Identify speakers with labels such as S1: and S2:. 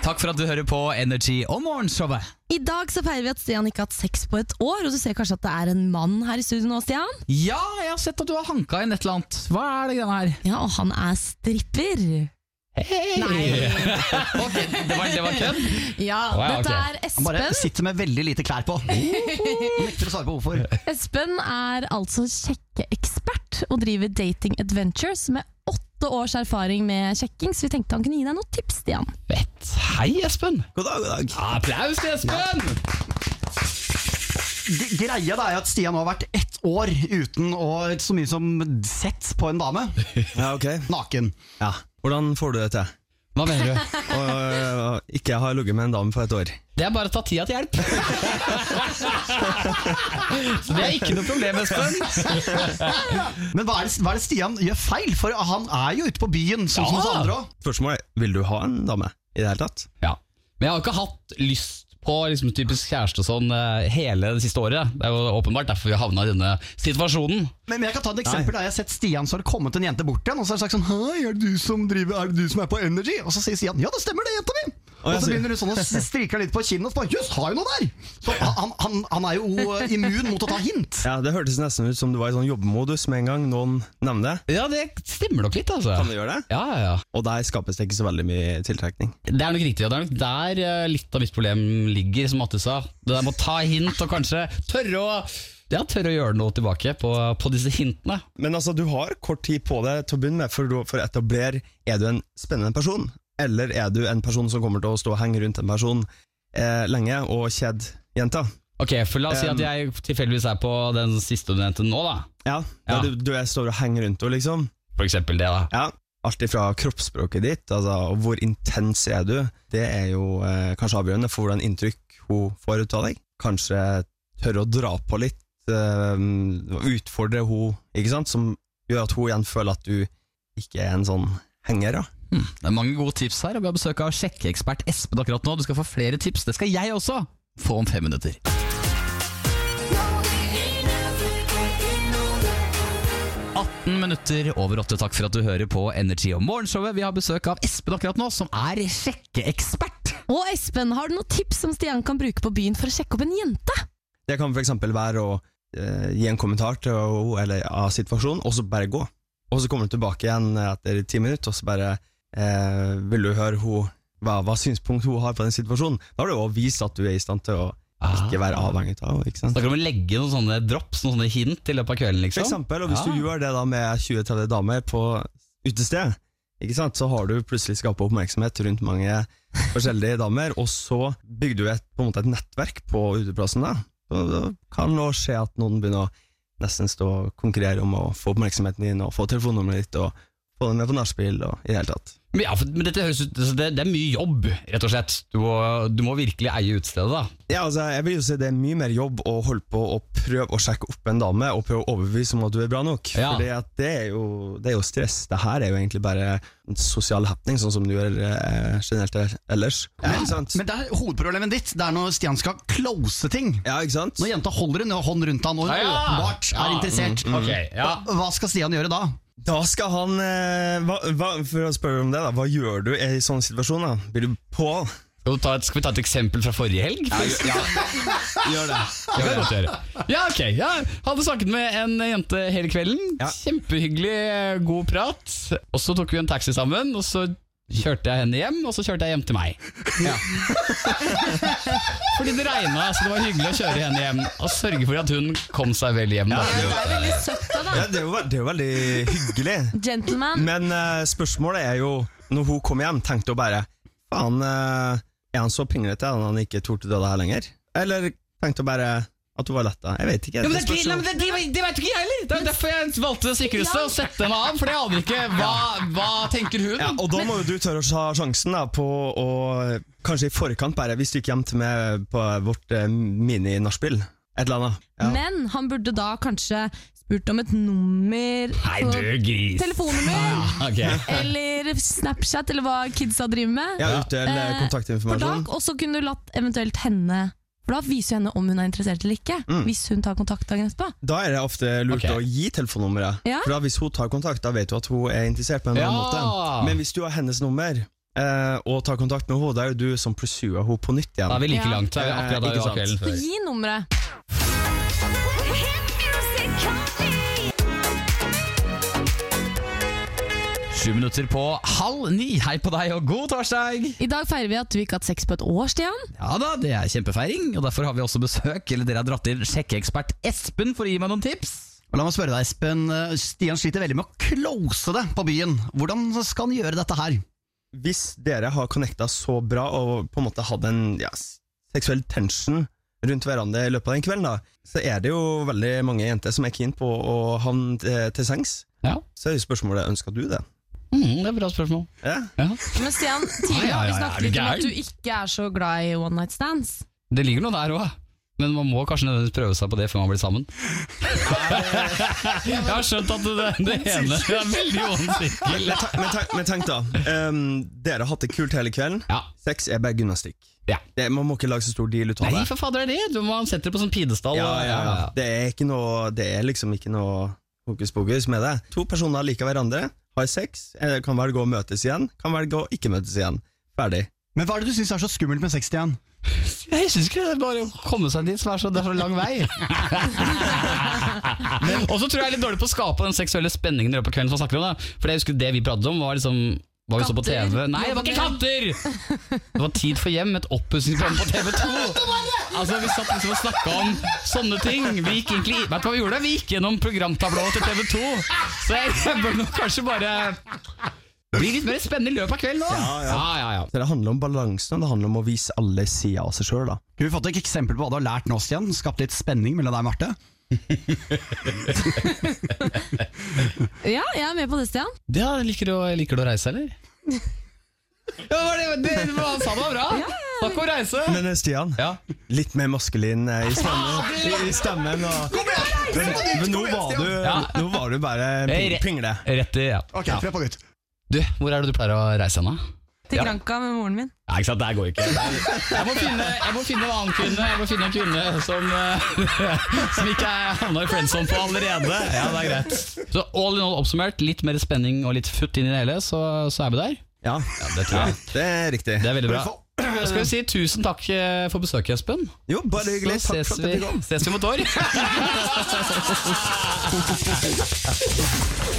S1: Takk for at du hører på Energy og Morgenshowet.
S2: I dag så feirer vi at Stian ikke har hatt sex på et år, og du ser kanskje at det er en mann her i studio nå, Stian?
S1: Ja, jeg har sett at du har hanka inn et eller annet. Hva er det greiene her?
S2: Ja, og han er stripper. Nei.
S1: Ok, det var, det var kødd?
S2: Ja,
S1: Å, ja, ok.
S2: dette er
S3: Han bare
S2: Espen.
S3: sitter med veldig lite klær på. Nekter å svare på hvorfor.
S2: Espen er altså sjekkeekspert og driver Dating Adventures med åtte års erfaring med sjekking, så vi tenkte han kunne gi deg noen tips, Stian.
S1: Fett. Hei, Espen.
S3: God dag, god dag.
S1: Applaus til Espen!
S3: Greia da er jo at Stian har vært ett år uten å så mye som sett på en dame.
S4: Ja, ok
S3: Naken.
S4: ja. Hvordan får du det til?
S1: Hva mener du?
S4: Å øh, ikke ha ligget med en dame for et år.
S1: Det er bare å ta tida til hjelp. Så det er ikke noe problem, Espen.
S3: Men hva er, det, hva er det Stian gjør feil? For han er jo ute på byen, sånn som
S1: Ja.
S3: oss andre òg.
S4: Spørsmålet er vil du ha en dame i det hele tatt.
S1: Ja. Men jeg har jo ikke hatt lyst på liksom, typisk kjæreste og sånn eh, hele det siste året. Det er jo åpenbart derfor vi havna i denne situasjonen.
S3: Men men jeg kan ta et eksempel da Jeg har sett Stian så har det kommet en jente bort til han, Og så har han sagt sånn Hei, er det du som driver Er det du som er på Energy? Og så sier Stian Ja, det stemmer det, jenta mi
S4: Å,
S3: Og
S4: jeg
S3: så
S4: sier-
S3: begynner hun sånn å strike litt på kinnet Og så bare Jøss, har jo noe der Så han, han, han er jo eh, immun mot å ta hint
S4: Ja, Det hørtes nesten ut som du var i sånn jobbemodus med en gang noen nevner det.
S1: Ja, det stemmer nok litt, altså.
S4: Kan du gjøre det?
S1: Ja, ja, ja.
S4: Og der skapes det ikke så veldig mye tiltrekning.
S1: Det er nok riktig, og det er nok der eh, litt av mitt problem ligger, som Matte sa. Det der med å ta hint og kanskje tørre å ja, tørre å gjøre noe tilbake på, på disse hintene.
S4: Men altså, du har kort tid på deg til å begynne med for, å- for å etablere er du en spennende person, eller er du en person som kommer til å stå og henge rundt en person eh, lenge og kjede jenta.
S1: Ok, for La oss si at jeg tilfeldigvis er på den siste du nevnte nå, da.
S4: Ja,
S1: Ja.
S4: ja. Du, du er- står og henger rundt henne, liksom.
S1: For eksempel det, da.
S4: Ja, alt ifra kroppsspråket ditt, altså og hvor intens er du, det er jo eh, kanskje avgjørende for hvordan inntrykk hun får ut av deg. Kanskje tørre å dra på litt, eh, utfordre hun, ikke sant, som gjør at hun igjen føler at du ikke er en sånn henger, da.
S1: Det er mange gode tips her, og vi har besøk av sjekkeekspert Espen akkurat nå. Du skal få flere tips, det skal jeg også få om fem minutter. minutter over åtte. Takk for at du hører på Energy og Morgenshowet. Vi har besøk av Espen akkurat nå, som er sjekkeekspert.
S2: Og Espen, har du noen tips som Stian kan bruke på byen for å sjekke opp en jente?
S4: Det kan for eksempel være å eh, gi en kommentar til henne eller av situasjonen, og så bare gå. Og så kommer du tilbake igjen etter ti minutter, og så bare eh, vil du høre hun, hva, hva synspunkt hun har på den situasjonen. Da har du også vist at du er i stand til å
S1: Ah.
S4: ikke være avhengig av henne. ikke sant?
S1: Da kan vi legge noen sånne drops, noen sånne hint i løpet av kvelden,
S4: For
S1: liksom.
S4: eksempel, og
S1: Ja.
S4: hvis du gjør det da med 20-30 damer på utested, ikke sant? så har du plutselig skapet oppmerksomhet rundt mange forskjellige damer, og så bygger du et, på en måte et nettverk på uteplassen. Da. Og da kan det også skje at noen begynner å nesten stå og konkurrere om å få oppmerksomheten din, og få telefonnummeret ditt, og få den med på nachspiel, og i det hele tatt.
S1: Men, ja, for, men dette høres ut, altså, det, det er mye jobb, rett og slett. Du må, du må virkelig eie utestedet, da.
S4: Ja, altså, jeg vil jo si Det er mye mer jobb å holde på å prøve å sjekke opp en dame og prøve å overbevise om at du er bra nok.
S1: Ja.
S4: Fordi at det, er jo, det er jo stress. Det her er jo egentlig bare en sosial happening, sånn som du gjør eh, generelt ellers. Ja, ikke sant?
S3: Men det er hovedproblemet ditt Det er når Stian skal close ting
S4: ja, ikke sant?
S3: Når jenta holder en hånd rundt han Og hun
S1: Ja, ja.
S3: åpenbart er
S1: Ja, Mm.
S3: interessert
S1: Ok, ja.
S3: Hva skal Stian gjøre da?
S4: Da skal han eh, hva, hva, For å spørre om det, da. Hva gjør du i en sånn situasjon? da? Blir du på?
S1: Skal, du ta et, skal vi ta et eksempel fra forrige helg? Ja,
S4: Gjør det.
S1: det kan vi godt gjøre. Ja, ok. Ja, hadde snakket med en jente hele kvelden.
S4: Ja.
S1: Kjempehyggelig, eh, god prat. Og så tok vi en taxi sammen, og så kjørte jeg henne hjem, og så kjørte jeg hjem til meg. Fordi det regna, så det var hyggelig å kjøre henne hjem. Og sørge for at hun kom seg vel hjem. Da.
S2: Det er veldig søtt av
S4: Ja, det, er jo, ve- det er jo veldig hyggelig.
S2: Gentleman.
S4: Men eh, spørsmålet er jo Når hun kom hjem, tenkte hun bare Faen, eh, er han så pinglete at han ikke torde dra det her lenger? Eller tenkte hun bare at hun var letta? Jeg vet ikke.
S1: Ja, men det,
S4: det spørs
S1: nei,
S4: jo-
S1: men det, det, det vet ikke jeg heller! Det er derfor jeg valgte det sikreste, å sette henne av. For jeg aner ikke hva, hva tenker hun.
S4: ja, og da må jo du tørre å ta sjansen da, på å Kanskje i forkant bare, hvis du gikk hjem til meg på vårt eh, mini-nachspiel. Et eller annet. Ja.
S2: Men han burde da kanskje spurt om et nummer på
S1: gris.
S2: Telefonnummer
S1: Ok.
S2: eller Snapchat eller hva kidsa driver med.
S4: Ja, ut til eh,
S2: Eh, For da,
S1: sånn?
S4: kontaktinformasjon.
S2: og så kunne du latt eventuelt henne For da viser jo henne om hun er interessert eller ikke.
S1: Mm.
S2: Hvis hun tar kontakt dagen etterpå.
S4: Da er det ofte lurt
S1: Ok.
S4: å gi telefonnummeret.
S2: Ja.
S4: For da Hvis hun tar kontakt, da vet du at hun er interessert. på en eller annen
S1: Ja.
S4: måte Men hvis du har hennes nummer, eh, og ta kontakt med henne. Det er jo du som pursuer henne på nytt
S1: Da
S4: igjen.
S1: er vi like
S2: Ja.
S1: langt. Da er vi akkurat der
S4: Eh,
S1: vi var
S4: ikke
S1: kvelden
S4: sant.
S1: før.
S2: Gi nummeret.
S5: Hit music only.
S1: Sju minutter på halv ni. Hei på deg og god torsdag!
S2: I dag feirer vi at du ikke har hatt sex på et år, Stian.
S1: Ja da, det er kjempefeiring, og derfor har vi også besøk. Eller dere har dratt inn sjekkeekspert Espen for å gi meg noen tips.
S3: Og La meg spørre deg, Espen. eh, Stian sliter veldig med å close det på byen. Hvordan skal han gjøre dette her?
S4: Hvis dere har connecta så bra og på en måte hatt en ja, s- seksuell tension rundt hverandre i løpet av den kvelden, da, så er det jo veldig mange jenter som er keen på å havne eh, til sengs.
S1: Ja.
S4: Så er jo spørsmålet ønsker du det.
S1: Mm, det er et bra spørsmål.
S4: Ja.
S1: Ja.
S2: Men Stian, tidligere
S1: Ja, ja,
S2: har
S1: ja,
S2: vi
S1: er
S2: snakket
S1: du
S2: litt om
S1: gæren?
S2: at du ikke er så glad i one night stands.
S1: Det ligger noe der òg, men man må kanskje nødvendigvis prøve seg på det før man blir sammen. Jeg har skjønt at det, det ene er veldig
S4: Men,
S1: vanskelig.
S4: tenk, men, tenk, men tenk da, em, dere har hatt det kult hele kvelden.
S1: Ja.
S4: Sex er bare gymnastikk.
S1: Ja.
S4: Det, man må ikke lage så stor deal ut av
S1: Nei,
S4: det.
S1: for fader er det! Du må sette det på sånn pidestall.
S4: Ja,
S1: og-
S4: ja, ja. Det, er ikke noe, det er liksom ikke noe hokus pokus med det. To personer liker hverandre, har sex, eh, kan velge å møtes igjen, kan velge å ikke møtes igjen. Ferdig.
S3: Men Hva er det du syns er så skummelt med sex, Stian?
S1: Jeg syns ikke det er bare å komme seg dit, som er så, det er så lang vei. og så tror jeg jeg er litt dårlig på å skape den seksuelle spenningen i løpet av kvelden. som man snakker om da. For jeg husker det vi pratet om, var liksom hva vi så på
S2: Katter.
S1: TV. Nei, det var ikke katter! Det var Tid for hjem, et oppussingsprogram på TV2. Altså, Vi satt liksom og snakka om sånne ting. Vi gikk egentlig, vet du hva vi gjorde? Vi gikk gjennom programtablået til TV2. Så jeg, jeg bør nok kanskje bare bli litt mer spennende i løpet av kvelden nå. ja, ja, ja.
S4: Så det handler om balansen, og det handler om å vise alle sider av seg sjøl.
S3: Kunne vi fått et eksempel på hva du har lært nå, Stian? Skapt litt spenning mellom deg og Marte?
S2: Ja, jeg er med på det, Stian.
S1: Ja, liker du, å- liker du å reise, eller? ja, var det, det, det var, han sa det var bra! Takk for å reise!
S4: Men eh, Stian,
S1: Ja.
S4: litt mer maskulin eh, i stemmen. I, i stemmen og, men, men nå var du,
S1: Ja.
S4: nå var du bare
S1: Hey, re-
S4: pingle.
S1: Rett i, ja.
S3: Ok, fred på gutt.
S1: Du, hvor er det du pleier å reise hen, da?
S2: Til
S1: Ja.
S2: Granca med moren min.
S1: Nei, ikke sant, det her går ikke. Jeg må finne, jeg må finne en annen kvinne. Jeg må finne en kvinne som, eh, som ikke er havna i friendzone på allerede. Ja, det er greit. Så all in all oppsummert, litt mer spenning og litt futt inn i det hele, så, så er vi der.
S4: Ja,
S1: Det tror jeg.
S4: det er riktig.
S1: Det er veldig bra. Da skal vi si tusen takk eh, for besøket, Espen.
S4: Jo, bare
S1: Så
S4: hyggelig. Takk
S1: ses
S4: for at
S1: vi,
S4: jeg fikk komme.
S1: ses vi mot år.